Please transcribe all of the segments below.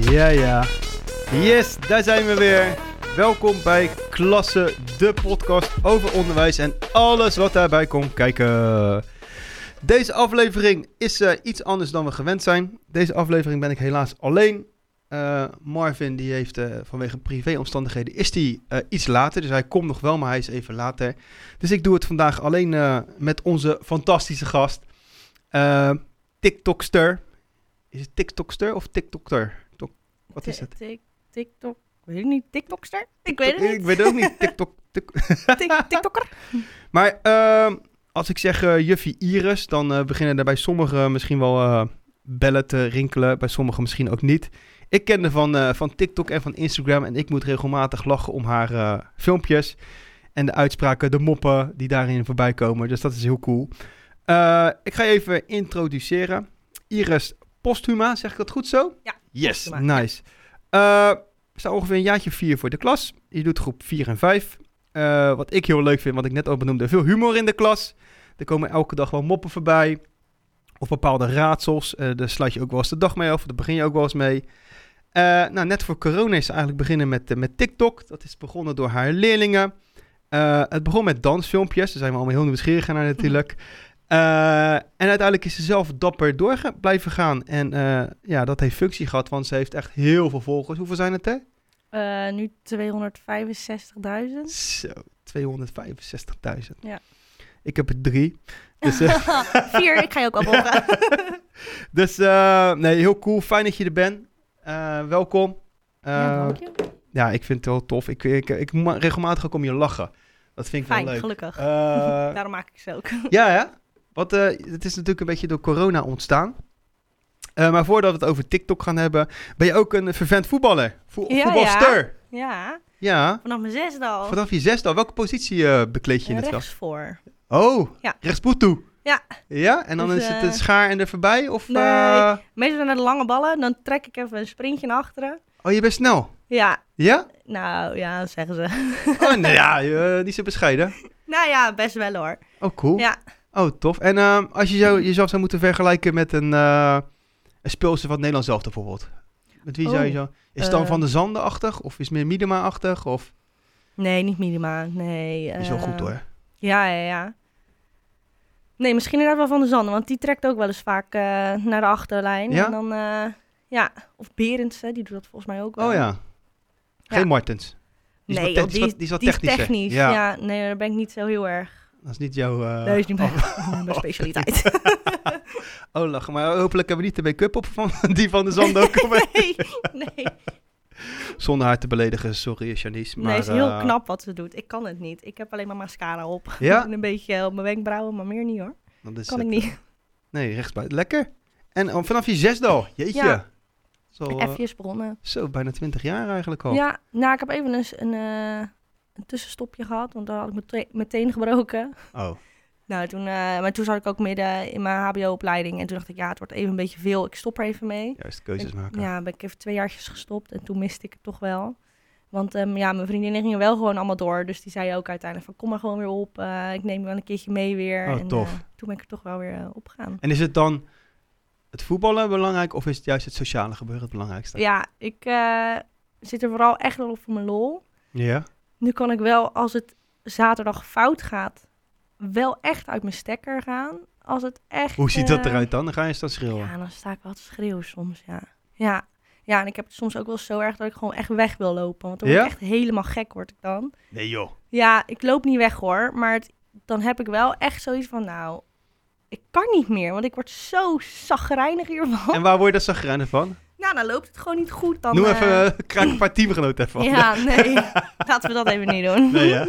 Ja, ja. Yes, daar zijn we weer. Welkom bij Klasse, de podcast over onderwijs en alles wat daarbij komt kijken. Deze aflevering is eh, iets anders dan we gewend zijn. Deze aflevering ben ik helaas alleen. Eh, Marvin die heeft eh, vanwege privéomstandigheden is die, eh, iets later. Dus hij komt nog wel, maar hij is even later. Dus ik doe het vandaag alleen eh, met onze fantastische gast. Eh, TikTokster. Is het TikTokster of TikTokter? Tok- wat is het? Tik- tik- TikTok. Weet ik niet. TikTokster? Ik weet het Ik niet. weet het ook niet. TikTok. tik- Tik- TikTokker? Maar ehm, als ik zeg eh, juffie Iris, dan eh, beginnen er bij sommigen misschien wel eh, bellen te rinkelen. Bij sommigen misschien ook niet. Ik kende van, eh, van TikTok en van Instagram en ik moet regelmatig lachen om haar eh, filmpjes. En de uitspraken, de moppen die daarin voorbij komen. Dus dat is heel cool. Eh, ik ga je even introduceren. Iris Posthuma, zeg ik dat goed zo? Ja, Yes, Posthuma, nice. Eh sta ongeveer een jaartje vier voor de klas. Je doet groep 4 en 5. Eh, wat ik heel leuk vind, wat ik net al benoemde, veel humor in de klas. Er komen elke dag wel moppen voorbij. Of bepaalde raadsels. Eh, daar sluit je ook wel eens de dag mee af. Daar begin je ook wel eens mee. Eh, nou, net voor corona is ze eigenlijk beginnen met, eh, met TikTok. Dat is begonnen door haar leerlingen. Eh, het begon met dansfilmpjes. Daar zijn we allemaal heel nieuwsgierig naar natuurlijk. Eh, en uiteindelijk is ze zelf dapper door ge- blijven gaan. En eh, ja, dat heeft functie gehad, want ze heeft echt heel veel volgers. Hoeveel zijn het er? Eh, nu 265.000. Zo, 265.000. Ja. Ik heb er drie. Dus, eh, Vier, ik ga je ook abonneren. dus eh, nee, heel cool. Fijn dat je er bent. Eh, welkom. Eh, Ja, dank je. ja, ik vind het wel tof. Ik, ik, ik, ma- regelmatig ook om je lachen. Dat vind ik Fijn, wel leuk. gelukkig. Eh, Daarom maak ik ze ook. Ja, ja. Want eh, het is natuurlijk een beetje door corona ontstaan. Eh, maar voordat we het over TikTok gaan hebben, ben je ook een vervent voetballer. Vo- Ja, voetbalster. Ja, Ja. vanaf mijn zesde al. Vanaf je zesde al. Welke positie eh, bekleed je in het veld? rechts voor. Oh, Ja. rechtsboet toe. Ja. Ja, en dan Dus, is het eh, een schaar en er voorbij? Of, nee. eh, Meestal zijn het lange ballen, dan trek ik even een sprintje naar achteren. oh, je bent snel. Ja, Ja? nou ja, zeggen ze. Oh, nee, ja, je- niet zo bescheiden. Nou ja, best wel hoor. Oh, cool. Ja, Oh, tof. En ehm, als je zou, jezelf zou moeten vergelijken met een, eh een speelster van Nederland zelf bijvoorbeeld. Met wie zou je Oh, zo... Is het dan eh. Van de Zanden-achtig? Of is het meer Miedema-achtig? Of... nee, niet minima. Nee. Is wel goed eh, hoor. Ja, ja, ja. Nee, misschien inderdaad wel van de Zanden, want die trekt ook wel eens vaak eh, naar de achterlijn. Ja? En dan, eh, ja, of Berendsen, die doet dat volgens mij ook wel. Oh ja. Geen eh, Ja. Martens. Die is wat Nee, te- joh, die is wat- die is wat technischer. technisch. Ja. Ja. nee, daar ben ik niet zo heel erg. Dat is niet jouw... eh, dat is niet mijn, mijn specialiteit. Oh, lachen. Maar hopelijk hebben we niet de make-up op van die Van de Zanden ook. om- nee, nee. Zonder haar te beledigen, sorry Janice. Maar, nee, het is heel eh, knap wat ze doet. Ik kan het niet. Ik heb alleen maar mascara op. Ja? en een beetje op mijn wenkbrauwen, maar meer niet hoor. dat is Kan het. ik niet. Nee, rechtsbuiten. Lekker. En oh, vanaf je zesde al. Jeetje. Ja. Zo, eh, Even bronnen. zo, bijna twintig jaar eigenlijk al. Ja, nou, ik heb even eens een, eh, een tussenstopje gehad, want daar had ik mijn tre- mijn teen gebroken. Oh. Nou, toen, eh, maar toen zat ik ook midden in mijn HBO-opleiding. En toen dacht ik, ja, het wordt even een beetje veel. Ik stop er even mee. Juist keuzes maken. Ja, ben ik even twee jaartjes gestopt. En toen miste ik het toch wel. Want ehm, ja, mijn vriendinnen gingen wel gewoon allemaal door. Dus die zei ook uiteindelijk van, kom maar gewoon weer op. eh, ik neem je wel een keertje mee weer. Oh, en, tof. eh, toen ben ik er toch wel weer eh, opgegaan. En is het dan het voetballen belangrijk of is het juist het sociale gebeuren het belangrijkste? Ja, ik eh, zit er vooral echt wel op voor mijn lol. Ja. Nu kan ik wel, als het zaterdag fout gaat, wel echt uit mijn stekker gaan. Als het echt... Hoe ziet dat eh, eruit dan? Dan ga je staan schreeuwen. Ja, dan sta ik wel te schreeuwen soms, ja. Ja. Ja, en ik heb het soms ook wel zo erg dat ik gewoon echt weg wil lopen. Want dan word Ja? ik echt helemaal gek, word ik dan. Nee joh. Ja, ik loop niet weg hoor. Maar het- dan heb ik wel echt zoiets van, nou, ik kan niet meer. Want ik word zo zagrijnig hiervan. En waar word je dat zagrijnig van? Nou, dan loopt het gewoon niet goed. Dan, Noem eh, even, eh, kraak een paar teamgenoten even af. Ja, nee. Laten we dat even niet doen. Nee, hè?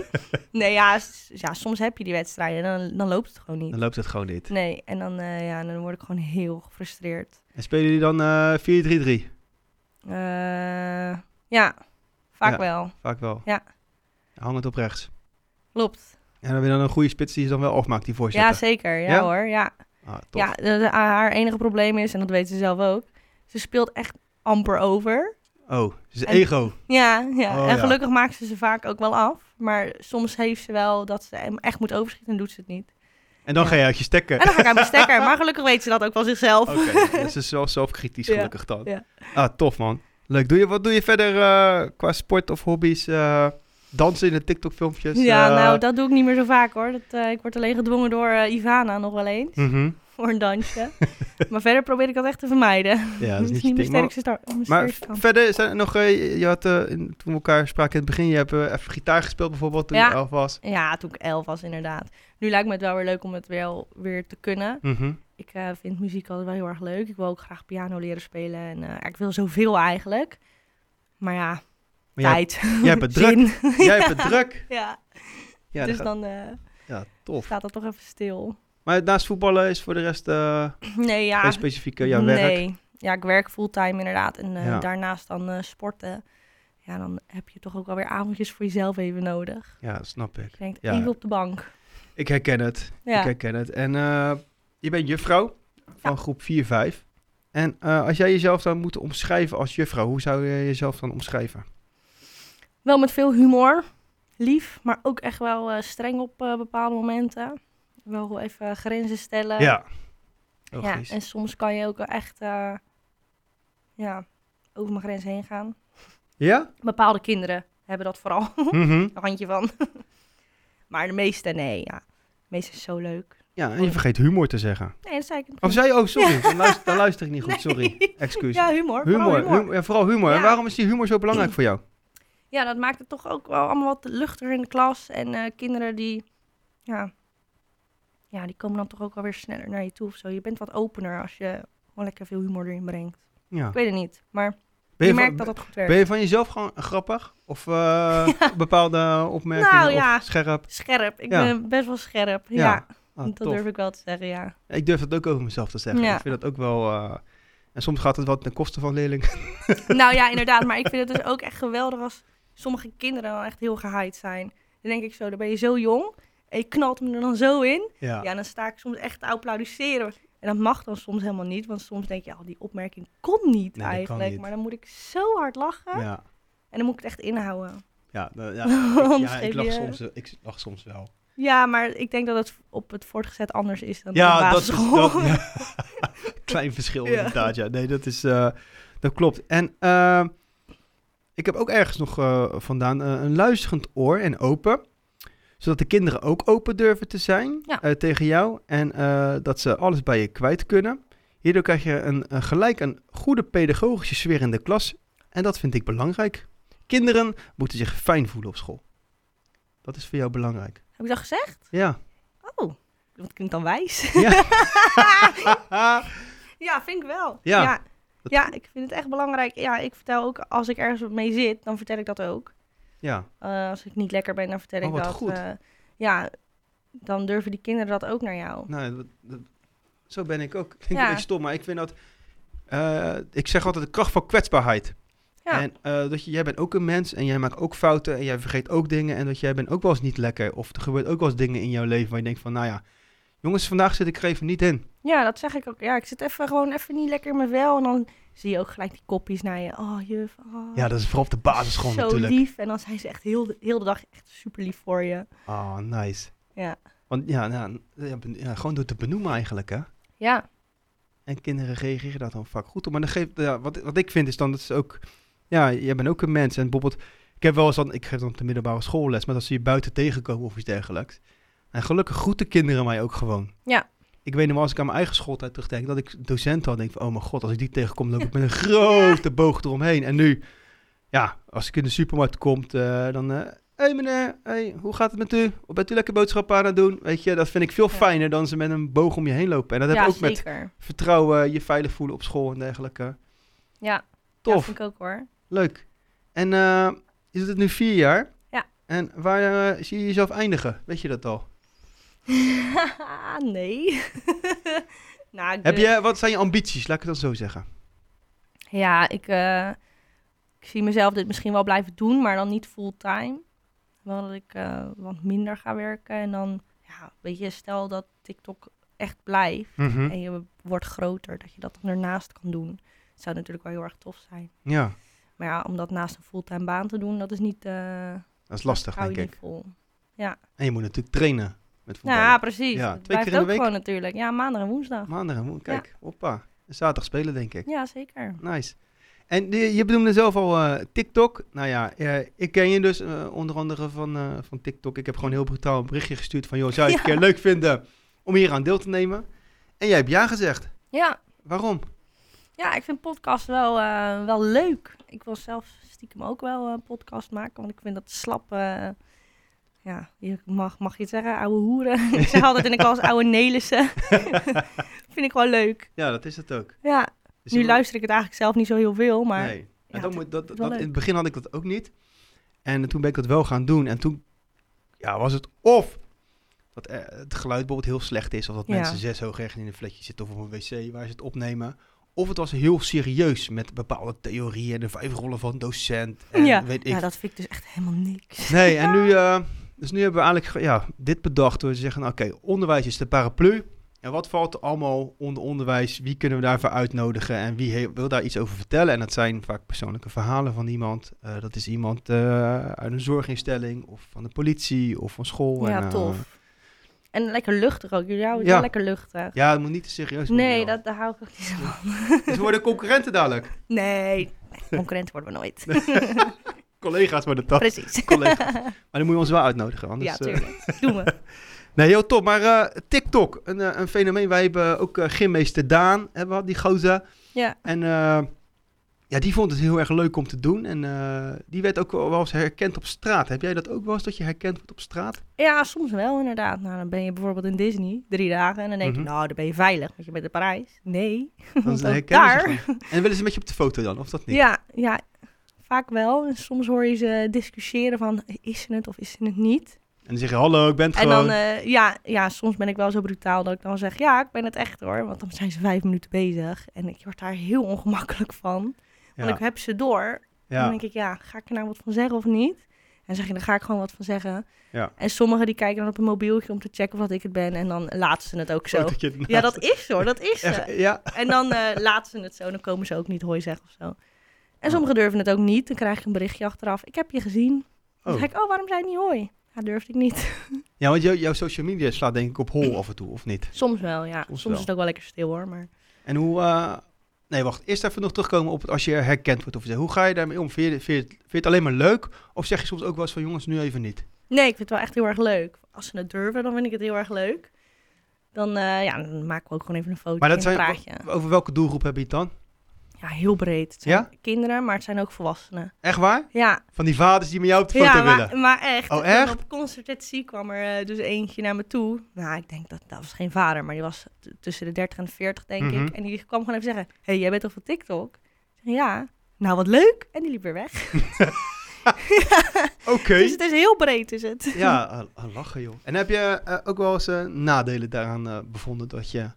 Nee, ja, s- ja, soms heb je die wedstrijden en dan, dan loopt het gewoon niet. Dan loopt het gewoon niet. Nee, en dan, eh, ja, dan word ik gewoon heel gefrustreerd. En spelen jullie dan eh, 4-3-3? Eh, ja, vaak Ja. wel. Vaak wel. Ja. Hang het op rechts. Klopt. En dan weer dan een goede spits die je dan wel afmaakt, die voorzet. Ja, zeker. Ja, Ja? hoor. Ja. Ah, tof. Ja, de- de- haar enige probleem is, en dat weet ze zelf ook, ze speelt echt amper over. Oh, dus En- ego. Ja, ja. Oh, en ja. gelukkig maakt ze ze vaak ook wel af. Maar soms heeft ze wel dat ze hem echt moet overschieten en doet ze het niet. En dan Ja. ga je uit je stekker. En dan ga ik aan mijn stekker. Oh, Maar gelukkig weet ze dat ook wel zichzelf. Oké, dus ze is wel zelfkritisch Ja, gelukkig dan. ja. Ah, tof man. Leuk. Doe je, wat doe je verder eh, qua sport of hobby's? eh, dansen in de TikTok-filmpjes? ja, eh, nou, dat doe ik niet meer zo vaak hoor. Dat, eh, ik word alleen gedwongen door eh, Ivana nog wel eens. mhm. Voor een dansje. maar verder probeer ik dat echt te vermijden. Ja, dat is niet je niet mijn ding. Maar- sterkste start. mijn Maar sterkste kant. verder zijn er nog, eh, je had eh, in- toen we elkaar spraken in het begin, je hebt eh, even gitaar gespeeld bijvoorbeeld toen je Ja. elf was. Ja, toen ik elf was inderdaad. Nu lijkt me het wel weer leuk om het wel weer te kunnen. Mhm. Ik eh, vind muziek altijd wel heel erg leuk. Ik wil ook graag piano leren spelen. En eh, ik wil zoveel eigenlijk. Maar ja, Maar jij, tijd. jij hebt het druk. Zin. Jij hebt het druk. ja, Ja, dus dat gaat- dan eh, ja, tof. staat dat toch even stil. Maar naast voetballen is voor de rest eh Nee, ja. geen specifieke jouw werk. Nee. Ja, ik werk fulltime inderdaad. En eh, Ja. daarnaast dan eh, sporten. Ja, dan heb je toch ook alweer avondjes voor jezelf even nodig. Ja, snap ik. Je denkt, Ja. even op de bank. Ik herken het. Ja. Ik herken het. En eh, je bent juffrouw van groep 4-5. En eh, als jij jezelf zou moeten omschrijven als juffrouw, hoe zou je jezelf dan omschrijven? Wel met veel humor. Lief, maar ook echt wel eh, streng op eh, bepaalde momenten. Wel even grenzen stellen. ja. Eh, Ja, Logisch. en soms kan je ook wel echt eh, ja, over mijn grens heen gaan. Ja? Bepaalde kinderen hebben dat vooral Mhm. een handje van. maar de meeste, nee, ja. De meeste is zo leuk. Ja, en je vergeet humor te zeggen. Nee, dat zei ik in het Of begin. zei je, oh sorry, dan, luister, dan luister ik niet goed, sorry. Nee. Excuus. Ja, humor. humor, Humor, humor. hum- ja, vooral humor. En Ja. waarom is die humor zo belangrijk voor jou? Ja, dat maakt het toch ook wel allemaal wat luchtiger in de klas. En eh, kinderen die, ja, ja, die komen dan toch ook wel weer sneller naar je toe of zo. Je bent wat opener als je gewoon lekker veel humor erin brengt. Ja. Ik weet het niet, maar je, Ben, je merkt van, dat dat goed werkt. ben je van jezelf gewoon grappig? Of eh, bepaalde opmerkingen Nou, ja. of scherp? Scherp. Ik Ja. ben best wel scherp. Ja, Ja. Ah, dat tof. durf ik wel te zeggen, ja. Ik durf dat ook over mezelf te zeggen. Ja. Ik vind dat ook wel... eh, en soms gaat het wel ten koste van leerlingen. nou ja, inderdaad. Maar ik vind het dus ook echt geweldig als sommige kinderen dan echt heel gehaaid zijn. Dan denk ik zo, dan ben je zo jong. En je knalt hem er dan zo in. ja. Ja, dan sta ik soms echt te applaudisseren. En dat mag dan soms helemaal niet. Want soms denk je, al die opmerking kon niet Nee, dat kan eigenlijk. niet. Maar dan moet ik zo hard lachen. Ja. En dan moet ik het echt inhouden. Ja, nou, ja, ik, Anders ja, ik geef lach je- soms, eh, ik lach soms wel. Ja, maar ik denk dat het op het voortgezet anders is dan op de Ja, dat is basisschool. dat- ja. Klein verschil Ja. inderdaad, ja. Nee, dat is... eh, dat klopt. En eh, ik heb ook ergens nog eh, vandaan eh, een luisterend oor en open. Zodat de kinderen ook open durven te zijn Ja. eh, tegen jou. En eh, dat ze alles bij je kwijt kunnen. Hierdoor krijg je een, een gelijk een goede pedagogische sfeer in de klas. En dat vind ik belangrijk. Kinderen moeten zich fijn voelen op school. Dat is voor jou belangrijk. Heb ik dat gezegd? Ja. Oh, dat klinkt dan wijs. Ah, Ja, vind ik wel. Ja. ja. Dat- Ja, ik vind het echt belangrijk. Ja, ik vertel ook als ik ergens mee zit, dan vertel ik dat ook. ja. Eh, als ik niet lekker ben, dan vertel Oh, ik wat dat. goed. eh, ja, dan durven die kinderen dat ook naar jou. Nou, dat- dat- zo ben ik ook. Ik vind Ja. het stom, maar ik vind dat... eh, ik zeg altijd de kracht van kwetsbaarheid. Ja. En eh, dat je, jij bent ook een mens en jij maakt ook fouten en jij vergeet ook dingen. En dat jij bent ook wel eens niet lekker. Of er gebeurt ook wel eens dingen in jouw leven waar je denkt van, nou ja... Jongens, vandaag zit ik er even niet in. ja, dat zeg ik ook. Ja, ik zit even gewoon even niet lekker in mijn wel. En dan zie je ook gelijk die kopjes naar je. Oh, juf. Oh, Ja, dat is vooral op de basisschool Zo natuurlijk. lief. En dan zijn ze echt heel de, heel de dag echt super lief voor je. Oh, nice. Ja. Want ja, nou, ja, ben- ja, gewoon door te benoemen eigenlijk, hè. Ja, En kinderen reageren daar dan vaak goed op. Maar dan geeft, ja, wat, wat ik vind is dan dat ze ook... Ja, jij bent ook een mens. En bijvoorbeeld, ik heb wel eens dan... Ik geef dan op de middelbare schoolles, maar dat ze je buiten tegenkomen of iets dergelijks. En gelukkig groeten kinderen mij ook gewoon. Ja. Ik weet nog wel, als ik aan mijn eigen schooltijd terugdenk, dat ik docenten had. denk van, oh mijn god, als ik die tegenkom, loop ik met een grote boog eromheen. En nu, ja, als ik in de supermarkt kom, eh, dan... eh hey meneer, hey, hoe gaat het met u? Wat Bent u lekker boodschappen aan het doen? Weet je, dat vind ik veel Ja. fijner dan ze met een boog om je heen lopen. En dat heb ja ik ook met zeker. vertrouwen, je veilig voelen op school en dergelijke. Ja, Tof, dat vind ik ook hoor. leuk. En eh, je doet het nu vier jaar. Ja. En waar eh, zie je jezelf eindigen? Weet je dat al? nee. nou, ik Heb durf- je, wat zijn je ambities? Laat ik het dan zo zeggen. Ja, ik, eh, ik zie mezelf dit misschien wel blijven doen, maar dan niet fulltime. Wel dat ik eh, wat minder ga werken. En dan, ja, weet je, stel dat TikTok echt blijft Hm? en je wordt groter, dat je dat dan ernaast kan doen. Dat zou natuurlijk wel heel erg tof zijn. Ja, Maar ja, om dat naast een fulltime baan te doen, dat is niet... eh, dat is lastig, hou denk je niet ik. vol. En je moet natuurlijk trainen met voetballen. Ja, precies. Ja, het twee blijft keer in de ook week? gewoon natuurlijk. Ja, maandag en woensdag. Maandag, en woensdag. kijk, hoppa. En Zaterdag spelen, denk ik. Ja, zeker. Nice. En die- je benoemde zelf al eh, TikTok. Nou ja, eh, ik ken je dus eh, onder andere van, eh, van TikTok. Ik heb gewoon heel brutaal een berichtje gestuurd van... joh, zou je het een Ja. keer leuk vinden om hier aan deel te nemen? En jij hebt ja gezegd. Ja, Waarom? Ja, ik vind podcast wel, eh, wel leuk. Ik wil zelf stiekem ook wel eh, een podcast maken, want ik vind dat slap. eh, ja, je mag, mag je het zeggen, ouwe hoeren. ik zeg altijd in de klas ouwe Nelissen. vind ik wel leuk. Ja, dat is het ook. Ja, Dus nu je- luister ik het eigenlijk zelf niet zo heel veel, maar Nee. ja, dat het- moet, dat, is dat, wel in leuk. het begin had ik dat ook niet. En toen ben ik dat wel gaan doen. En toen ja, was het of dat eh, het geluid bijvoorbeeld heel slecht is. Of dat Ja. mensen zes hoog recht in een flatje zitten of op een wc waar ze het opnemen. Of het was heel serieus met bepaalde theorieën en de vijf rollen van docent. En ja. weet ik. ja, dat vind ik dus echt helemaal niks. Nee, en nu, eh, dus nu hebben we eigenlijk ge- ja, dit bedacht. door te zeggen, nou, oké, onderwijs is de paraplu. En wat valt er allemaal onder onderwijs? Wie kunnen we daarvoor uitnodigen? En wie he- wil daar iets over vertellen? En dat zijn vaak persoonlijke verhalen van iemand. Eh, dat is iemand eh, uit een zorginstelling of van de politie of van school. en, Ja, eh, tof. En lekker luchtig ook. Jullie houden het Ja. wel lekker luchtig. ja, het moet niet te serieus worden, Nee, joh. dat, daar hou ik ook niet van. Dus we worden concurrenten dadelijk. Nee, concurrent worden we nooit. Collega's worden dat. Precies. Collega's. Maar dan moet je ons wel uitnodigen. Anders, ja, eh, tuurlijk. Doen we. Nee, heel top. Maar eh, TikTok, een, eh, een fenomeen. Wij hebben ook eh, gymmeester Daan, hebben we, gehad, die gozer. Ja. En eh, ja, die vond het heel erg leuk om te doen. En eh, die werd ook wel wel eens herkend op straat. Heb jij dat ook wel eens, dat je herkend wordt op straat? Ja, soms wel inderdaad. Nou, dan ben je bijvoorbeeld in Disney drie dagen en dan denk je, Mhm. nou, dan ben je veilig, want je bent in Parijs. Nee. Dan Ook herkennen ze daar. gewoon. En willen ze met je op de foto dan, of dat niet? Ja, ja, vaak wel. En soms hoor je ze discussiëren van, is ze het of is ze het niet? En dan zeg je, hallo, ik ben het En gewoon. dan, eh, ja, ja, soms ben ik wel zo brutaal dat ik dan zeg, ja, ik ben het echt hoor. Want dan zijn ze vijf minuten bezig en ik word daar heel ongemakkelijk van. Want ja. ik heb ze door Dan ja. denk ik, ja, ga ik er nou wat van zeggen of niet? En dan zeg je, daar ga ik gewoon wat van zeggen. Ja. En sommigen die kijken dan op een mobieltje om te checken of dat ik het ben. En dan laten ze het ook zo. Oh, dat je het Ja, naast- dat is zo, dat is Echt, ze. ja. En dan eh, laten ze het zo, dan komen ze ook niet hooi zeggen of zo. En sommigen durven het ook niet. Dan krijg je een berichtje achteraf. Ik heb je gezien. Dan Oh. zeg ik, oh, waarom zei je niet hooi? Ja, durfde ik niet. ja, want jou- jouw social media slaat denk ik op hol af en toe, of niet? Soms wel, ja. Soms Soms, wel. is het ook wel lekker stil hoor. Maar En hoe... eh, Nee, wacht. Eerst even nog terugkomen op het als je herkend wordt. Of zo. hoe ga je daarmee om? Vind je, vind, je het, vind je het alleen maar leuk? Of zeg je soms ook wel eens van jongens, nu even niet? nee, ik vind het wel echt heel erg leuk. Als ze het durven, dan vind ik het heel erg leuk. Dan, eh, ja, dan maken we ook gewoon even een foto Maar dat en zijn- een praatje. Over welke doelgroep heb je het dan? Ja, heel breed. Het zijn Ja? kinderen, maar het zijn ook volwassenen. Echt waar? Ja, Van die vaders die met jou op de foto ja willen. maar, maar echt. Oh, Toen echt? Op concertatie kwam er eh, dus eentje naar me toe. Nou, ik denk dat dat was geen vader, maar die was t- tussen de 30 en 40, denk Mhm. ik. En die kwam gewoon even zeggen: hey, jij bent toch van TikTok? Ik zeg, ja. Nou, wat leuk. En die liep weer weg. Oké. Dus het is heel breed, is het. Ja, ah, ah, lachen joh. En heb je eh, ook wel eens eh, nadelen daaraan eh, bevonden dat je...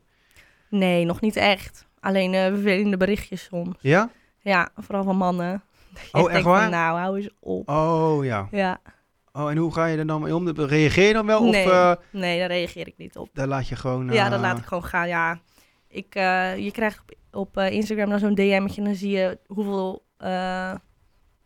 Nee, nog niet echt. Alleen eh, vervelende berichtjes soms. Ja? Ja, vooral van mannen. Dat je Oh, echt denkt van, waar? nou, hou eens op. Oh ja. Ja, Oh, en hoe ga je er dan mee om? Reageer je dan wel? nee, Of eh, nee, daar reageer ik niet op. daar laat je gewoon... Ja, eh, dat laat ik gewoon gaan. Ja, ik, eh, je krijgt op, op eh, Instagram dan zo'n DM'tje en dan zie je hoeveel eh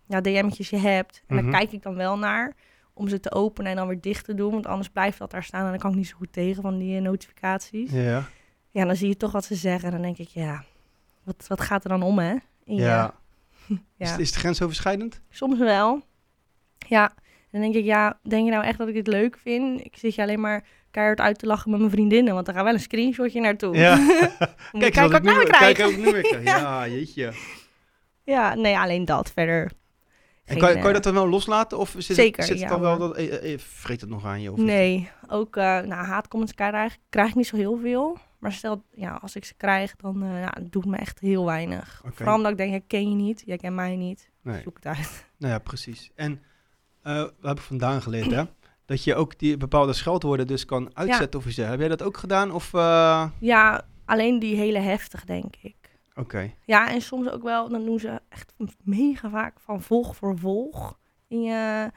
ja, DM'tjes je hebt. En Mhm. daar kijk ik dan wel naar om ze te openen en dan weer dicht te doen. Want anders blijft dat daar staan en dan kan ik niet zo goed tegen van die eh, notificaties. Ja, Ja. dan zie je toch wat ze zeggen en dan denk ik, ja, wat, wat gaat er dan om, hè? In je- Ja. Is, ja. is het grensoverschrijdend? Soms wel. Ja, dan denk ik, ja, denk je nou echt dat ik dit leuk vind? Ik zit je alleen maar keihard uit te lachen met mijn vriendinnen, want daar gaat wel een screenshotje naartoe. Moet je Kijk, eens kijken wat wat ik nu weer- ik nou weer krijg. kijk wat ik nu weer krijg. Ja, jeetje. Ja, nee, alleen dat verder. En Geen, kan, je- kan je eh, dat dan wel loslaten? Of zit, Zeker, het, zit het ja, dan wel... hoor. Dat, eh, eh, eh, vreet het nog aan je? Of niet? Nee, ook eh nou, haatcomments krijg, krijg ik niet zo heel veel. Maar stel, ja, als ik ze krijg, dan eh ja, het doet me echt heel weinig. Oké. Vooral omdat ik denk, ja, ken je niet, jij kent mij niet. Nee. Zoek het uit. Nou ja, precies. En eh we hebben vandaan geleerd, hè? Dat je ook die bepaalde scheldwoorden dus kan uitzetten of iets dergelijks. Heb jij dat ook gedaan? Of, eh, Ja, alleen die hele heftig, denk ik. Oké. Ja, en soms ook wel, dan doen ze echt mega vaak van volg voor volg in je,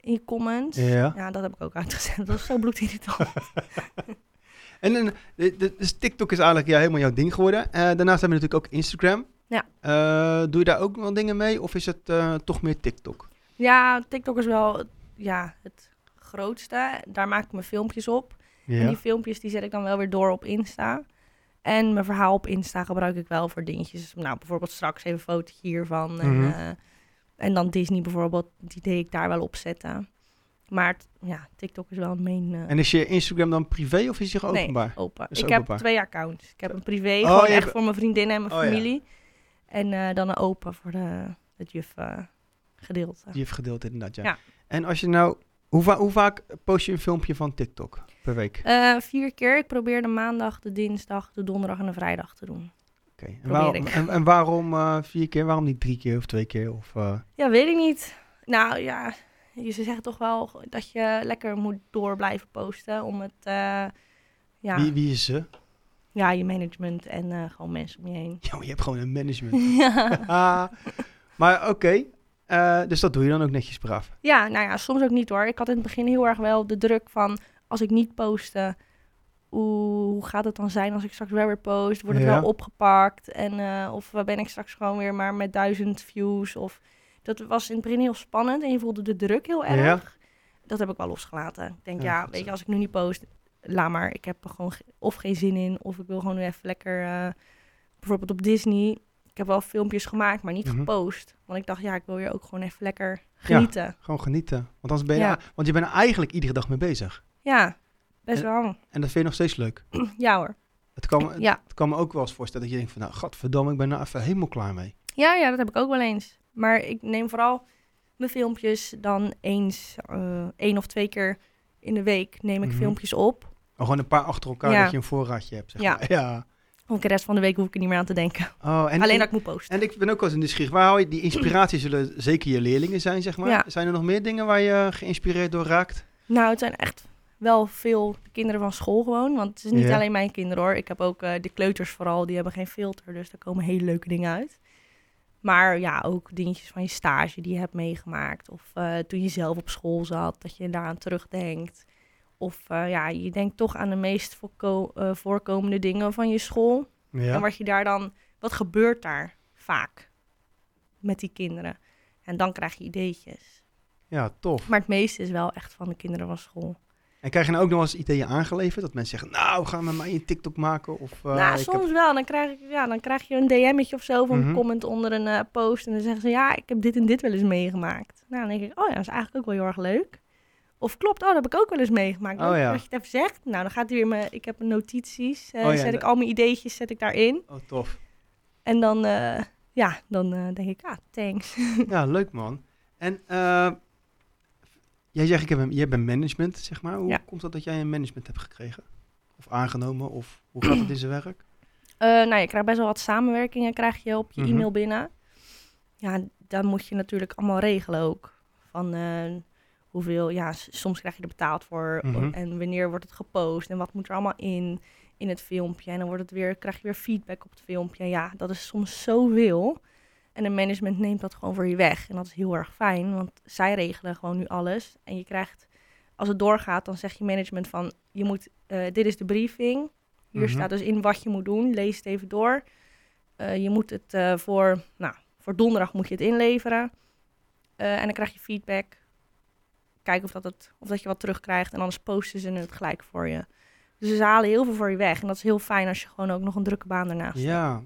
in je comments. Ja. Ja, dat heb ik ook uitgezet. Dat was zo bloedirritant. En, en de- de- dus TikTok is eigenlijk ja, helemaal jouw ding geworden. Eh, daarnaast hebben we natuurlijk ook Instagram. Ja. Eh, doe je daar ook wel dingen mee? Of is het eh, toch meer TikTok? ja, TikTok is wel ja, het grootste. Daar maak ik mijn filmpjes op. En die filmpjes die zet ik dan wel weer door op Insta. En mijn verhaal op Insta gebruik ik wel voor dingetjes. Nou, bijvoorbeeld straks even een fotootje hiervan. En, Mhm. eh, en dan Disney bijvoorbeeld, die deed ik daar wel op zetten. Maar t- ja, TikTok is wel een main eh, En is je Instagram dan privé of is die Nee. openbaar? open. Is ik ook heb openbaar. twee accounts. Ik heb een privé, Oh, gewoon je echt hebt- voor mijn vriendinnen en mijn Oh, ja. familie. En eh, dan een open voor de, het juf eh, gedeelte. Die heeft gedeeld inderdaad, ja. Ja. En als je nou... Hoe, va- hoe vaak post je een filmpje van TikTok per week? Eh, vier keer. Ik probeer de maandag, de dinsdag, de donderdag en de vrijdag te doen. Oké. En, probeer waarom, ik. en, en waarom eh, vier keer? Waarom niet drie keer of twee keer? Of, eh, Ja, weet ik niet. Nou ja, ze zeggen toch wel dat je lekker moet door blijven posten om het... eh, ja, wie, wie is ze? ja, je management en eh, gewoon mensen om je heen. Ja, maar je hebt gewoon een management. ja. Ah, maar oké, eh, dus dat doe je dan ook netjes braaf. Ja, nou ja, soms ook niet hoor. Ik had in het begin heel erg wel de druk van als ik niet postte, hoe, hoe gaat het dan zijn als ik straks wel weer post? Word ik Ja. wel opgepakt? En, eh, of eh, ben ik straks gewoon weer maar met duizend views? Of dat was in het begin heel spannend en je voelde de druk heel erg. Dat heb ik wel losgelaten. Ik denk, Ja, ja, goed weet zo. je, als ik nu niet post, laat maar. Ik heb er gewoon ge- of geen zin in, of ik wil gewoon nu even lekker, eh, bijvoorbeeld op Disney. Ik heb wel filmpjes gemaakt, maar niet Mhm. gepost. Want ik dacht, ja, ik wil hier ook gewoon even lekker Ja. genieten. Gewoon genieten. Want, anders ben je, Ja. want je bent er eigenlijk iedere dag mee bezig. Ja, best En- wel. En dat vind je nog steeds leuk. Ja hoor. Het kan, Ja. het kan me ook wel eens voorstellen dat je denkt van, nou, godverdamme, ik ben er even helemaal klaar mee. Ja, ja, dat heb ik ook wel eens. Maar ik neem vooral mijn filmpjes dan eens eh, één of twee keer in de week neem ik Mhm. filmpjes op. Maar gewoon een paar achter elkaar Ja. dat je een voorraadje hebt, zeg Ja. maar. Ja. Want de rest van de week hoef ik er niet meer aan te denken. Oh, en, Alleen en, dat ik moet posten. en ik ben ook wel eens nieuwsgierig. Waar haal je die inspiratie? Zullen zeker je leerlingen zijn, zeg maar. Ja. Zijn er nog meer dingen waar je geïnspireerd door raakt? Nou, het zijn echt wel veel kinderen van school gewoon. Want het is niet Ja. alleen mijn kinderen hoor. Ik heb ook eh, de kleuters vooral. Die hebben geen filter. Dus daar komen hele leuke dingen uit. Maar ja, ook dingetjes van je stage die je hebt meegemaakt. Of eh, toen je zelf op school zat, dat je daaraan terugdenkt. Of eh, ja, je denkt toch aan de meest voorko- eh, voorkomende dingen van je school. En Ja. wat je daar dan, wat gebeurt daar vaak met die kinderen? En dan krijg je ideetjes. Ja, tof. Maar het meeste is wel echt van de kinderen van school. En krijg je nou ook nog eens ideeën aangeleverd? Dat mensen zeggen, nou, ga met mij een TikTok maken. Of, eh, nou, ik soms heb- wel. Dan krijg, ik, ja, dan krijg je een DM'tje of zo of een Mhm. comment onder een eh, post. En dan zeggen ze, ja, ik heb dit en dit wel eens meegemaakt. Nou, dan denk ik, oh ja, dat is eigenlijk ook wel heel erg leuk. Of klopt, oh, dat heb ik ook wel eens meegemaakt. Oh Leuk ja. Dat je het even zegt. Nou, dan gaat hij weer mijn, ik heb notities. eh, Oh ja, zet dat- ik al mijn ideetjes, zet ik daarin. Oh, tof. En dan, eh, ja, dan eh, denk ik, ah, thanks. Ja, leuk man. En eh, jij zegt, ik heb een, jij bent management, zeg maar. Hoe Ja. komt dat dat jij een management hebt gekregen? Of aangenomen? Of hoe gaat het in zijn werk? Eh, nou, je krijgt best wel wat samenwerkingen krijg je op je Mhm. e-mail binnen. Ja, dan moet je natuurlijk allemaal regelen ook. Van eh, hoeveel, ja, s- soms krijg je er betaald voor. Mhm. o- En wanneer wordt het gepost en wat moet er allemaal in, in het filmpje. En dan wordt het weer, krijg je weer feedback op het filmpje. Ja, dat is soms zoveel. En een management neemt dat gewoon voor je weg. En dat is heel erg fijn, want zij regelen gewoon nu alles. En je krijgt, als het doorgaat, dan zegt je management van... je moet, eh, dit is de briefing, hier Mhm. staat dus in wat je moet doen. Lees het even door. Eh, je moet het eh, voor, nou, voor donderdag moet je het inleveren. Eh, en dan krijg je feedback. Kijken of dat, het, of dat je wat terugkrijgt. En anders posten ze het gelijk voor je. Dus ze halen heel veel voor je weg. En dat is heel fijn als je gewoon ook nog een drukke baan daarnaast hebt. Ja,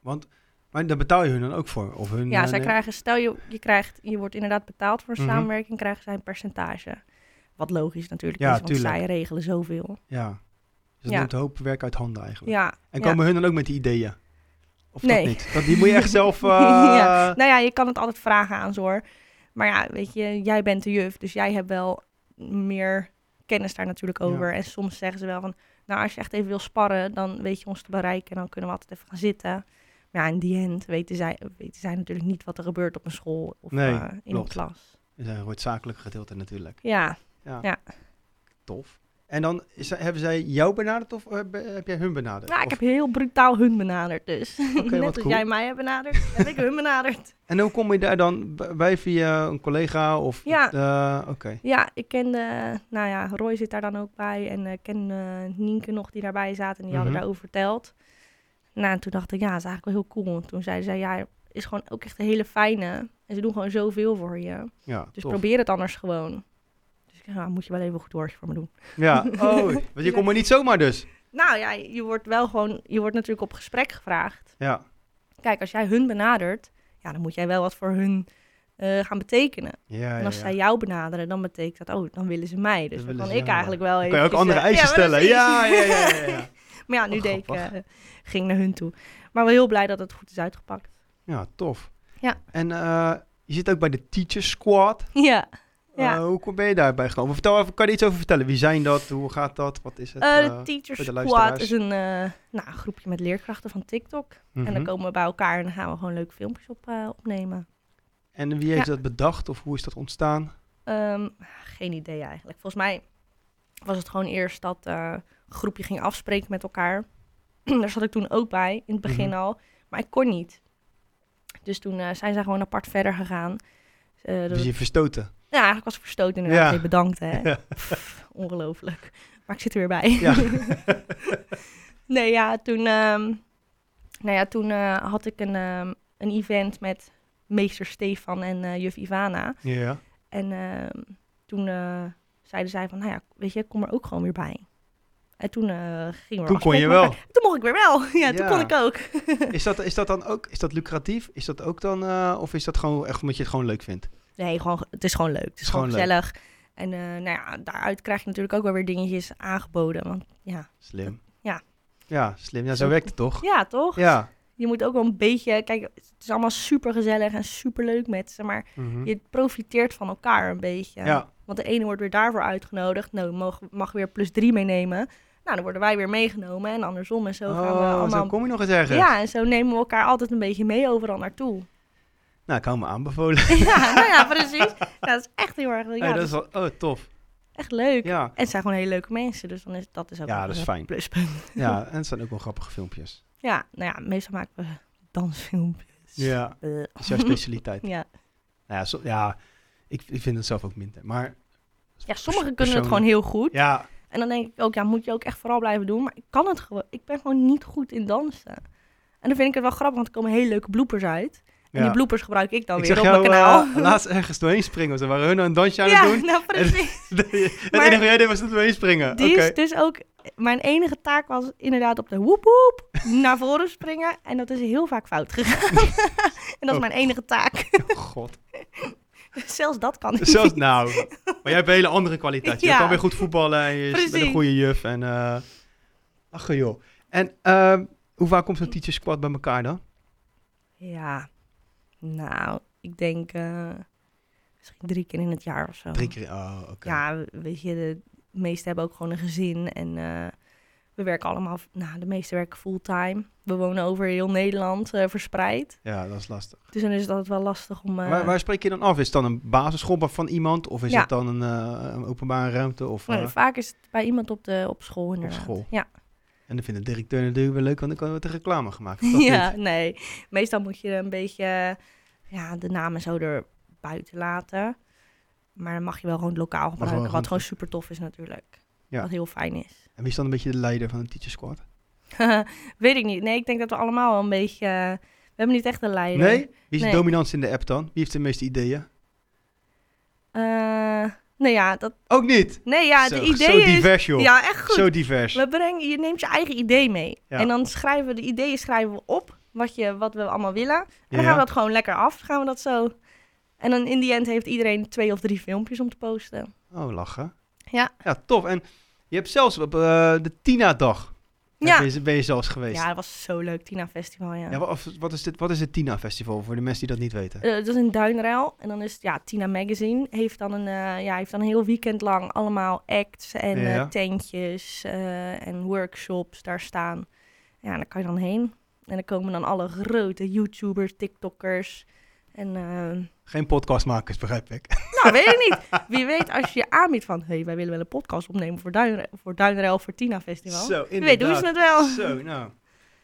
want maar daar betaal je hun dan ook voor? Of hun, Ja, eh, zij nee- krijgen, stel je, je, krijgt, je wordt inderdaad betaald voor een Mhm. samenwerking, krijgen zij een percentage. Wat logisch natuurlijk Ja, is, want tuurlijk. zij regelen zoveel. Ja. Dus dat Ja. neemt een hoop werk uit handen eigenlijk. Ja, En ja. komen hun dan ook met die ideeën? Of Nee. dat niet? Dat, die moet je echt zelf... eh, Ja. Nou ja, je kan het altijd vragen aan ze hoor. Maar ja, weet je, jij bent de juf, dus jij hebt wel meer kennis daar natuurlijk Ja. over. En soms zeggen ze wel van, nou als je echt even wil sparren, dan weet je ons te bereiken en dan kunnen we altijd even gaan zitten. Maar ja, in die end weten zij, weten zij natuurlijk niet wat er gebeurt op een school of Nee, eh, in klopt. Eh, een klas. Dus dan wordt het zakelijke gedeelte natuurlijk. Ja, Tof. En dan is- hebben zij jou benaderd of eh, be- heb jij hun benaderd? nou, ik Of- heb heel brutaal hun benaderd dus. Net wat als cool. jij mij hebt benaderd, heb ik hun benaderd. En hoe kom je daar dan b- bij via een collega of... Ja. eh, Oké. Ja, ik kende, nou ja, Roy zit daar dan ook bij. En ik ken eh, Nienke nog die daarbij zaten en die hadden Mhm. daarover verteld. Nou, en toen dacht ik, ja, dat is eigenlijk wel heel cool. En toen zeiden zij, ja, is gewoon ook echt een hele fijne. En ze doen gewoon zoveel voor je. Ja, Dus tof. probeer het anders gewoon. Dus ik dacht, nou, moet je wel even een goed woordje voor me doen. Ja, oh, want je Dus komt er niet zomaar dus. Nou ja, je wordt wel gewoon, je wordt natuurlijk op gesprek gevraagd. Ja. Kijk, als jij hun benadert, ja, dan moet jij wel wat voor hun eh, gaan betekenen. Ja, ja, en als ja. zij jou benaderen, dan betekent dat, oh, dan willen ze mij. Dus Dan dan willen kan ze ik jou. eigenlijk wel Dan even... kan je ook andere eisen stellen. Ja, ja, ja, ja, ja. Maar ja, nu Oh, deed ik, grappig. eh, ging naar hun toe. Maar wel heel blij dat het goed is uitgepakt. Ja, tof. Ja. En eh, je zit ook bij de Teacher Squad. Ja. Ja. Eh, hoe kom- ben je daarbij gekomen? Vertel even, kan je iets over vertellen? Wie zijn dat? Hoe gaat dat? Wat is het? Eh, eh? de Teacher voor de Squad luisteraars. is een eh, nou, groepje met leerkrachten van TikTok. En Mhm. dan komen we bij elkaar en dan gaan we gewoon leuke filmpjes op, eh, opnemen. En wie heeft dat bedacht of hoe is dat ontstaan? Ehm, geen idee eigenlijk. Volgens mij was het gewoon eerst dat eh, een groepje ging afspreken met elkaar. Daar zat ik toen ook bij, in het begin Mhm. al. Maar ik kon niet. Dus toen eh, zijn zij gewoon apart verder gegaan. Eh, dat Dus je verstoten. Ja, eigenlijk was ik verstoten inderdaad. Ja. Hey, bedankt, hè. Ja. Pff, ongelooflijk. Maar ik zit er weer bij. Ja. nee, ja, toen... ehm, nou ja, toen eh, had ik een, ehm, een event met meester Stefan en eh, juf Ivana. ja. En ehm, toen eh, zeiden zij van... Nou ja, weet je, kom er ook gewoon weer bij. En toen eh gingen Toen we kon afspreken je met wel. elkaar. Toen mocht ik weer wel. Ja, toen Ja. kon ik ook. Is dat, is dat dan ook, is dat lucratief? Is dat ook dan, eh, of is dat gewoon echt omdat je het gewoon leuk vindt? Nee, gewoon, het is gewoon leuk. Het is gewoon, gewoon leuk. gezellig. En eh, nou ja, daaruit krijg je natuurlijk ook wel weer dingetjes aangeboden. Want ja, Slim. Ja. Ja, slim. Ja, zo Zo- werkt het toch? ja toch? Ja. je moet ook wel een beetje. Kijk, het is allemaal super gezellig en super leuk met ze. Maar Mhm. je profiteert van elkaar een beetje. Ja. Want de ene wordt weer daarvoor uitgenodigd. Nou, mag, mag weer plus drie meenemen. Nou, dan worden wij weer meegenomen. En andersom. En zo gaan we Oh, allemaal. zo kom je nog eens ergens. ja, en zo nemen we elkaar altijd een beetje mee overal naartoe. Nou, ik hou me aanbevolen. ja, nou ja, precies. Ja, dat is echt heel erg leuk. Ja, Hey, dat dus- dat is wel, oh, tof. is echt leuk. Ja. En het zijn gewoon hele leuke mensen. Dus dan is dat is ook Ja, nog dat is een fijn. pluspunt. Ja, en het zijn ook wel grappige filmpjes. Ja, nou ja, meestal maken we dansfilmpjes. Ja. Eh, Dat is jouw specialiteit. ja. Nou ja, zo- ja ik, ik vind het zelf ook minder. Maar ja, sommigen kunnen het persoonlijk- gewoon heel goed. ja, En dan denk ik ook, ja, moet je ook echt vooral blijven doen. Maar ik kan het gewoon. Ik ben gewoon niet goed in dansen. En dan vind ik het wel grappig, want er komen hele leuke bloepers uit. En ja. die bloepers gebruik ik dan ik weer zag op jou mijn kanaal. eh, laatst ergens doorheen springen. Ze waren hun een dansje aan het ja, doen. nou precies. het Maar- enige reden was dat we heen springen. Oké. Die is dus ook... Mijn enige taak was inderdaad op de woep woep naar voren springen. En dat is heel vaak fout gegaan. en dat is Oh. mijn enige taak. God. Zelfs dat kan niet. Zelfs nou. Maar jij hebt een hele andere kwaliteit. Je Ja. kan weer goed voetballen en je bent een Precies. goede juf. En, eh, ach joh. En ehm, hoe vaak komt zo'n teacher squad bij elkaar dan? Oh. Ja, nou, ik denk eh, misschien drie keer in het jaar of zo. Drie keer. Oh, oké. Ja, weet je, de meesten hebben ook gewoon een gezin. En eh, we werken allemaal, nou, de meesten werken fulltime. We wonen over heel Nederland eh, verspreid. Ja, dat is lastig. Dus dan is het altijd wel lastig om... eh, waar, waar spreek je dan af? Is het dan een basisschool van iemand? Of is Ja. het dan een, eh, een openbare ruimte? Of, nou, eh, vaak is het bij iemand op, de, op school inderdaad. school. Ja, En dan vindt de directeur natuurlijk weer leuk, want dan kan wordt er reclame gemaakt. of dat ja niet? nee. Meestal moet je een beetje eh, ja, de namen zo er buiten laten. Maar dan mag je wel gewoon het lokaal gebruiken. gewoon- wat gewoon super tof is natuurlijk. Ja. Wat heel fijn is. En wie is dan een beetje de leider van de teacher squad? Weet ik niet. Nee, ik denk dat we allemaal wel een beetje... eh, we hebben niet echt een leider. Nee? Wie is Nee. de dominant in de app dan? Wie heeft de meeste ideeën? Eh, nou ja, dat, Ook niet! nee, ja, Zo- de idee Zo is... divers, joh. Ja, echt goed. Zo divers. We brengen, je neemt je eigen idee mee. Ja. En dan schrijven we de ideeën schrijven we op, wat, je, wat we allemaal willen. En dan Ja. gaan we dat gewoon lekker af, gaan we dat zo. En dan in die end heeft iedereen twee of drie filmpjes om te posten. Oh, lachen. Ja. Ja, tof. En je hebt zelfs op eh, de Tina-dag Ja, ben, je, ben je zelfs geweest. ja dat was zo leuk, Tina Festival, ja. Ja, wa- of- wat, is dit, wat is het Tina-festival voor de mensen die dat niet weten? Eh, dat is in Duinruil. En dan is het, ja, Tina Magazine heeft dan een, eh, ja, heeft dan een heel weekend lang allemaal acts en eh, Ja. tentjes eh, en workshops daar staan. Ja, daar kan je dan heen. En dan komen dan alle grote YouTubers, TikTokkers. En eh, Geen podcastmakers, begrijp ik. nou, weet ik niet. Wie weet als je je aanbiedt van... hey, wij willen wel een podcast opnemen voor, Duinre voor Duinruil voor Tina Festival. Zo, Wie weet doen ze inderdaad. het wel. Zo, nou.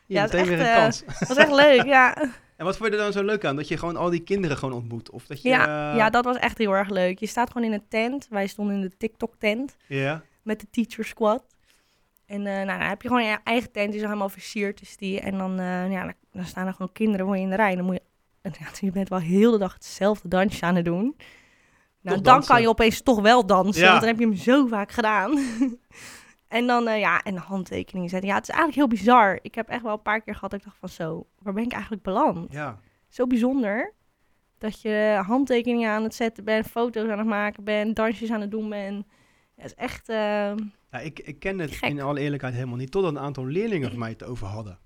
Je Ja, hebt het meteen is echt, weer een eh, kans. Dat was echt leuk, ja. En wat vond je er dan zo leuk aan? Dat je gewoon al die kinderen gewoon ontmoet? Of dat je... Ja, eh, ja, dat was echt heel erg leuk. Je staat gewoon in een tent. Wij stonden in de TikTok-tent. ja? met de teacher squad. En eh, nou, dan heb je gewoon je eigen tent, die is helemaal versierd. Is die. En dan, eh, ja, dan, dan staan er gewoon kinderen voor je in de rij. En dan moet je, en ja, je bent wel heel de dag hetzelfde dansje aan het doen. Nou, dan dansen. kan je opeens toch wel dansen, Ja. want dan heb je hem zo vaak gedaan. En dan, eh, ja, en handtekeningen zetten. Ja, het is eigenlijk heel bizar. Ik heb echt wel een paar keer gehad dat ik dacht van zo, waar ben ik eigenlijk beland? Ja. Zo bijzonder dat je handtekeningen aan het zetten bent, foto's aan het maken bent, dansjes aan het doen bent. Ja, het is echt, eh, Nou, ik, ik ken het Gek. in alle eerlijkheid helemaal niet, totdat een aantal leerlingen van mij het over hadden.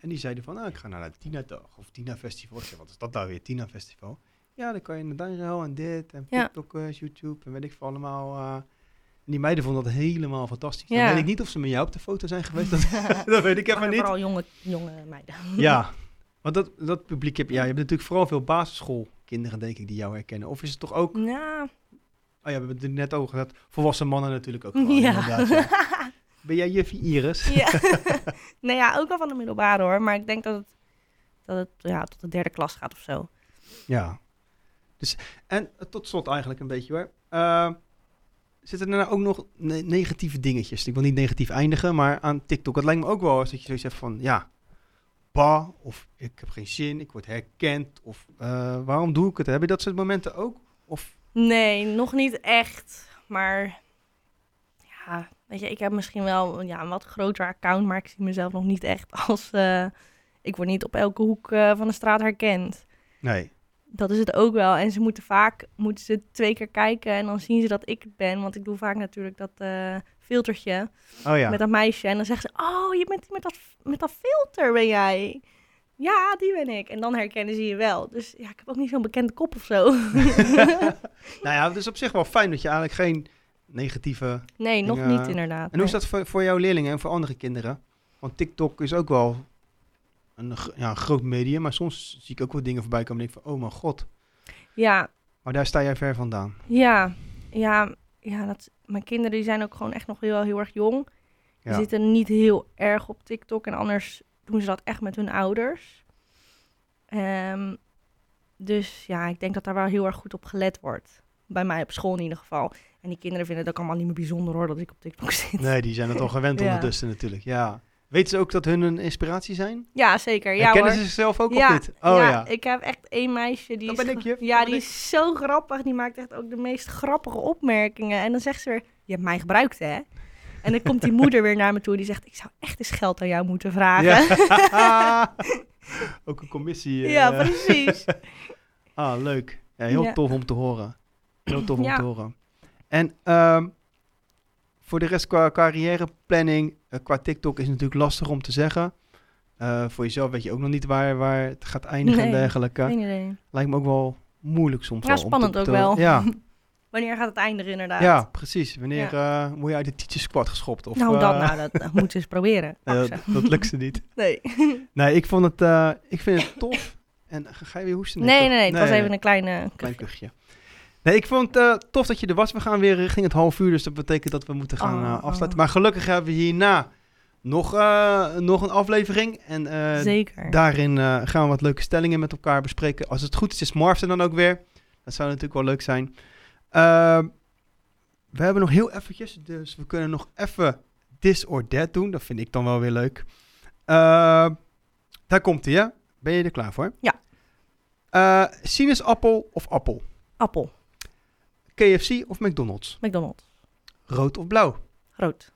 En die zeiden van, ah, ik ga naar het Tina-dag of Tina-festival. Ik zei, wat is dat nou weer, Tina-festival? Ja, dan kan je naar Daniel en dit en Ja. TikTok, eh, YouTube en weet ik veel allemaal. eh. en die meiden vonden dat helemaal fantastisch. Ja. Dan weet ik niet of ze met jou op de foto zijn geweest, dat, dat weet ik maar even niet. vooral jonge, jonge meiden. Ja, want dat, dat publiek heb ja, je hebt natuurlijk vooral veel basisschoolkinderen, denk ik, die jou herkennen. Of is het toch ook, oh ja, Nou, we hebben het er net over gehad, volwassen mannen natuurlijk ook gewoon, ja. inderdaad, ja. Ben jij juffie Iris? Ja. nou ja, ook wel van de middelbare hoor. Maar ik denk dat het, dat het ja, tot de derde klas gaat of zo. Ja. Dus, en eh, tot slot eigenlijk een beetje hoor. Eh, zitten er nou ook nog ne- negatieve dingetjes? Ik wil niet negatief eindigen, maar aan TikTok. Het lijkt me ook wel eens dat je zoiets hebt van, ja, bah, of ik heb geen zin, ik word herkend, of eh, waarom doe ik het? Heb je dat soort momenten ook? Of, Nee, nog niet echt. Maar ja, weet je, ik heb misschien wel ja, een wat groter account. Maar ik zie mezelf nog niet echt als... eh, ik word niet op elke hoek eh, van de straat herkend. nee. Dat is het ook wel. En ze moeten vaak moeten ze twee keer kijken en dan zien ze dat ik het ben. Want ik doe vaak natuurlijk dat eh, filtertje. Oh ja. met dat meisje. En dan zegt ze, oh, je bent die met dat, met dat filter ben jij. Ja, die ben ik. En dan herkennen ze je wel. Dus ja, ik heb ook niet zo'n bekende kop of zo. nou ja, het is op zich wel fijn dat je eigenlijk geen negatieve... Nee, nog Ja. niet inderdaad. En hoe is dat voor, voor jouw leerlingen en voor andere kinderen? Want TikTok is ook wel een, gr- ja, een groot medium, maar soms zie ik ook wel dingen voorbij komen en denk ik van, oh mijn god. Ja, Maar daar sta jij ver vandaan. ja, ja. ja dat, mijn kinderen die zijn ook gewoon echt nog heel, heel erg jong. Die Ja. zitten niet heel erg op TikTok. En anders doen ze dat echt met hun ouders. Ehm, dus ja, ik denk dat daar wel heel erg goed op gelet wordt. Bij mij op school in ieder geval. En die kinderen vinden het ook allemaal niet meer bijzonder hoor, dat ik op TikTok zit. Nee, die zijn het al gewend Ja. ondertussen natuurlijk. Ja. Weten ze ook dat hun een inspiratie zijn? Ja, zeker. Ja, Herkennen hoor. ze zichzelf ook ja, op dit? Oh ja. Ik heb echt één meisje die. Dat is ben ik, ge- juf. Ja, Dat die ben is zo grappig. Die maakt echt ook de meest grappige opmerkingen. En dan zegt ze weer: Je hebt mij gebruikt, hè? En dan komt die moeder weer naar me toe. Die zegt: Ik zou echt eens geld aan jou moeten vragen. Ja, Ja. ook een commissie. eh. precies. ah, leuk. Ja, heel Ja. tof om te horen. Heel tof om Ja. te horen. En ehm, voor de rest qua carrièreplanning, eh, qua TikTok is het natuurlijk lastig om te zeggen. Eh, voor jezelf weet je ook nog niet waar, waar het gaat eindigen en Nee. dergelijke. Geen idee. Lijkt me ook wel moeilijk soms. Ja, wel om te spannend ook bepalen. wel. Ja, Wanneer gaat het eindigen, inderdaad? Ja, precies. Wanneer eh, word je uit de teacher squad geschopt? Of, nou, dat, eh, nou, dat, dat moeten ze eens proberen. eh, Ach, dat, dat lukt ze niet. Nee. Nee, ik, vond het, eh, ik vind het tof. En eh, ga ga je weer hoesten? Nee, nee, toch? nee. Het was even een kleine. klein kuchje. Nee, ik vond het eh, tof dat je er was. We gaan weer richting het half uur, dus dat betekent dat we moeten gaan Oh. eh, afsluiten. Maar gelukkig hebben we hierna nog, eh, nog een aflevering. En eh, Zeker. daarin eh, gaan we wat leuke stellingen met elkaar bespreken. Als het goed is, is Marv er dan ook weer. Dat zou natuurlijk wel leuk zijn. Ehm, we hebben nog heel eventjes, dus we kunnen nog even this or that doen. Dat vind ik dan wel weer leuk. Ehm, daar komt hij, hè? Ben je er klaar voor? Ja. Eh, sinaasappel of appel? Appel. KFC of McDonald's? McDonald's. Rood of blauw? Rood.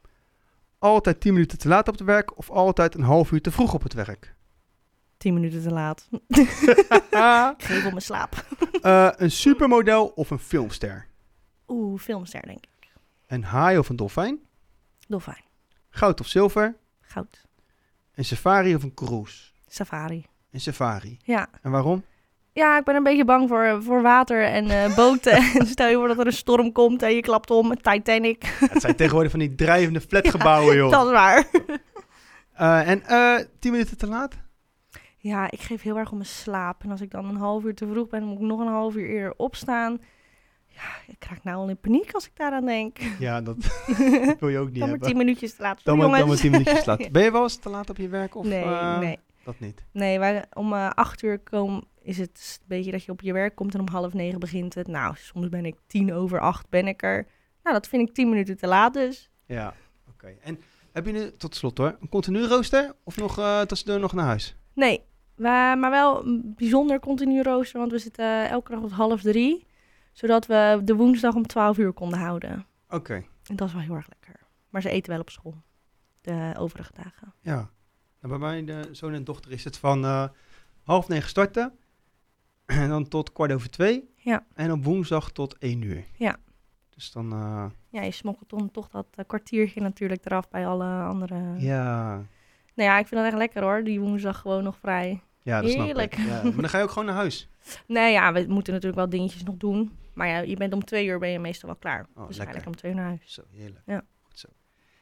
Altijd 10 minuten te laat op het werk of altijd een half uur te vroeg op het werk? 10 minuten te laat. Ah. Ik geef op mijn slaap. Eh, een supermodel of een filmster? Oeh, filmster, denk ik. Een haai of een dolfijn? Dolfijn. Goud of zilver? Goud. Een safari of een cruise? Safari. Een safari. Ja. En waarom? Ja, ik ben een beetje bang voor, voor water en eh, boten. En Stel je voor dat er een storm komt en je klapt om. Titanic. het zijn tegenwoordig van die drijvende flatgebouwen, joh. Dat is waar. Eh, en eh 10 minuten te laat? Ja, ik geef heel erg om mijn slaap. En als ik dan een half uur te vroeg ben, dan moet ik nog een half uur eerder opstaan. Ja, ik raak nou al in paniek als ik daaraan denk. Ja, dat wil je ook niet Dan maar hebben. tien minuutjes te laat. dan Sorry, maar, dan maar jongens. 10 minuutjes te laat. Ben je wel eens te laat op je werk? Of, nee, eh, nee. Dat niet. Nee, wij, om eh, acht uur komen is het een beetje dat je op je werk komt en om half negen begint het. Nou, soms ben ik tien over acht ben ik er. Nou, dat vind ik tien minuten te laat dus. Ja, oké. En heb je nu, tot slot hoor, een continu rooster? Of nog eh tussendoor nog naar huis? Nee, wa- maar wel een bijzonder continu rooster, want we zitten eh, elke dag op half drie. Zodat we de woensdag om twaalf uur konden houden. Oké. En dat is wel heel erg lekker. Maar ze eten wel op school. De overige dagen. Ja. Nou, bij mijn eh, zoon en dochter is het van eh, half negen starten. En dan tot kwart over twee. Ja. En op woensdag tot één uur. Ja. Dus dan, eh, Ja, je smokkelt dan toch dat eh, kwartiertje natuurlijk eraf bij alle andere... ja. Nou ja, ik vind dat echt lekker hoor. Die woensdag gewoon nog vrij. Ja, dat Heerlijk. snap ik. Ja. Maar dan ga je ook gewoon naar huis. Nee, ja, we moeten natuurlijk wel dingetjes nog doen. Maar ja, je bent om twee uur ben je meestal wel klaar. dus Oh, lekker. eigenlijk om twee uur naar huis. Zo, heerlijk. Ja. Goed zo.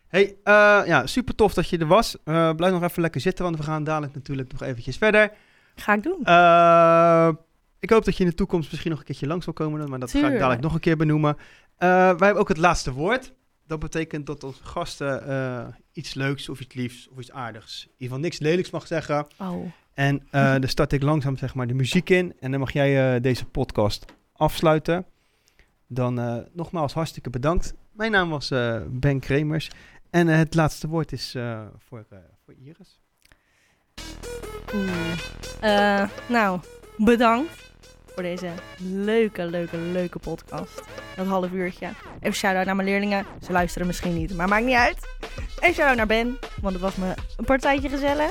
Hey, eh, ja, super tof dat je er was. Eh, blijf nog even lekker zitten, want we gaan dadelijk natuurlijk nog eventjes verder. Ga ik doen. Eh, ik hoop dat je in de toekomst misschien nog een keertje langs wil komen, maar dat ga ik Tuurlijk. dadelijk nog een keer benoemen. Eh, wij hebben ook het laatste woord. Dat betekent dat onze gasten eh, iets leuks of iets liefs of iets aardigs, in ieder geval niks lelijks mag zeggen. Oh, En eh dan start ik langzaam zeg maar de muziek in en dan mag jij eh, deze podcast afsluiten. Dan eh, nogmaals hartstikke bedankt. Mijn naam was eh, Ben Kremers en eh, het laatste woord is eh, voor, eh, voor Iris. Oeh. Eh, nou, bedankt voor deze leuke, leuke, leuke podcast. Dat half uurtje. Even shout-out naar mijn leerlingen. Ze luisteren misschien niet, maar maakt niet uit. En shout-out naar Ben, want het was me een partijtje gezellig.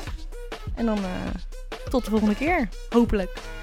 En dan eh, tot de volgende keer. Hopelijk.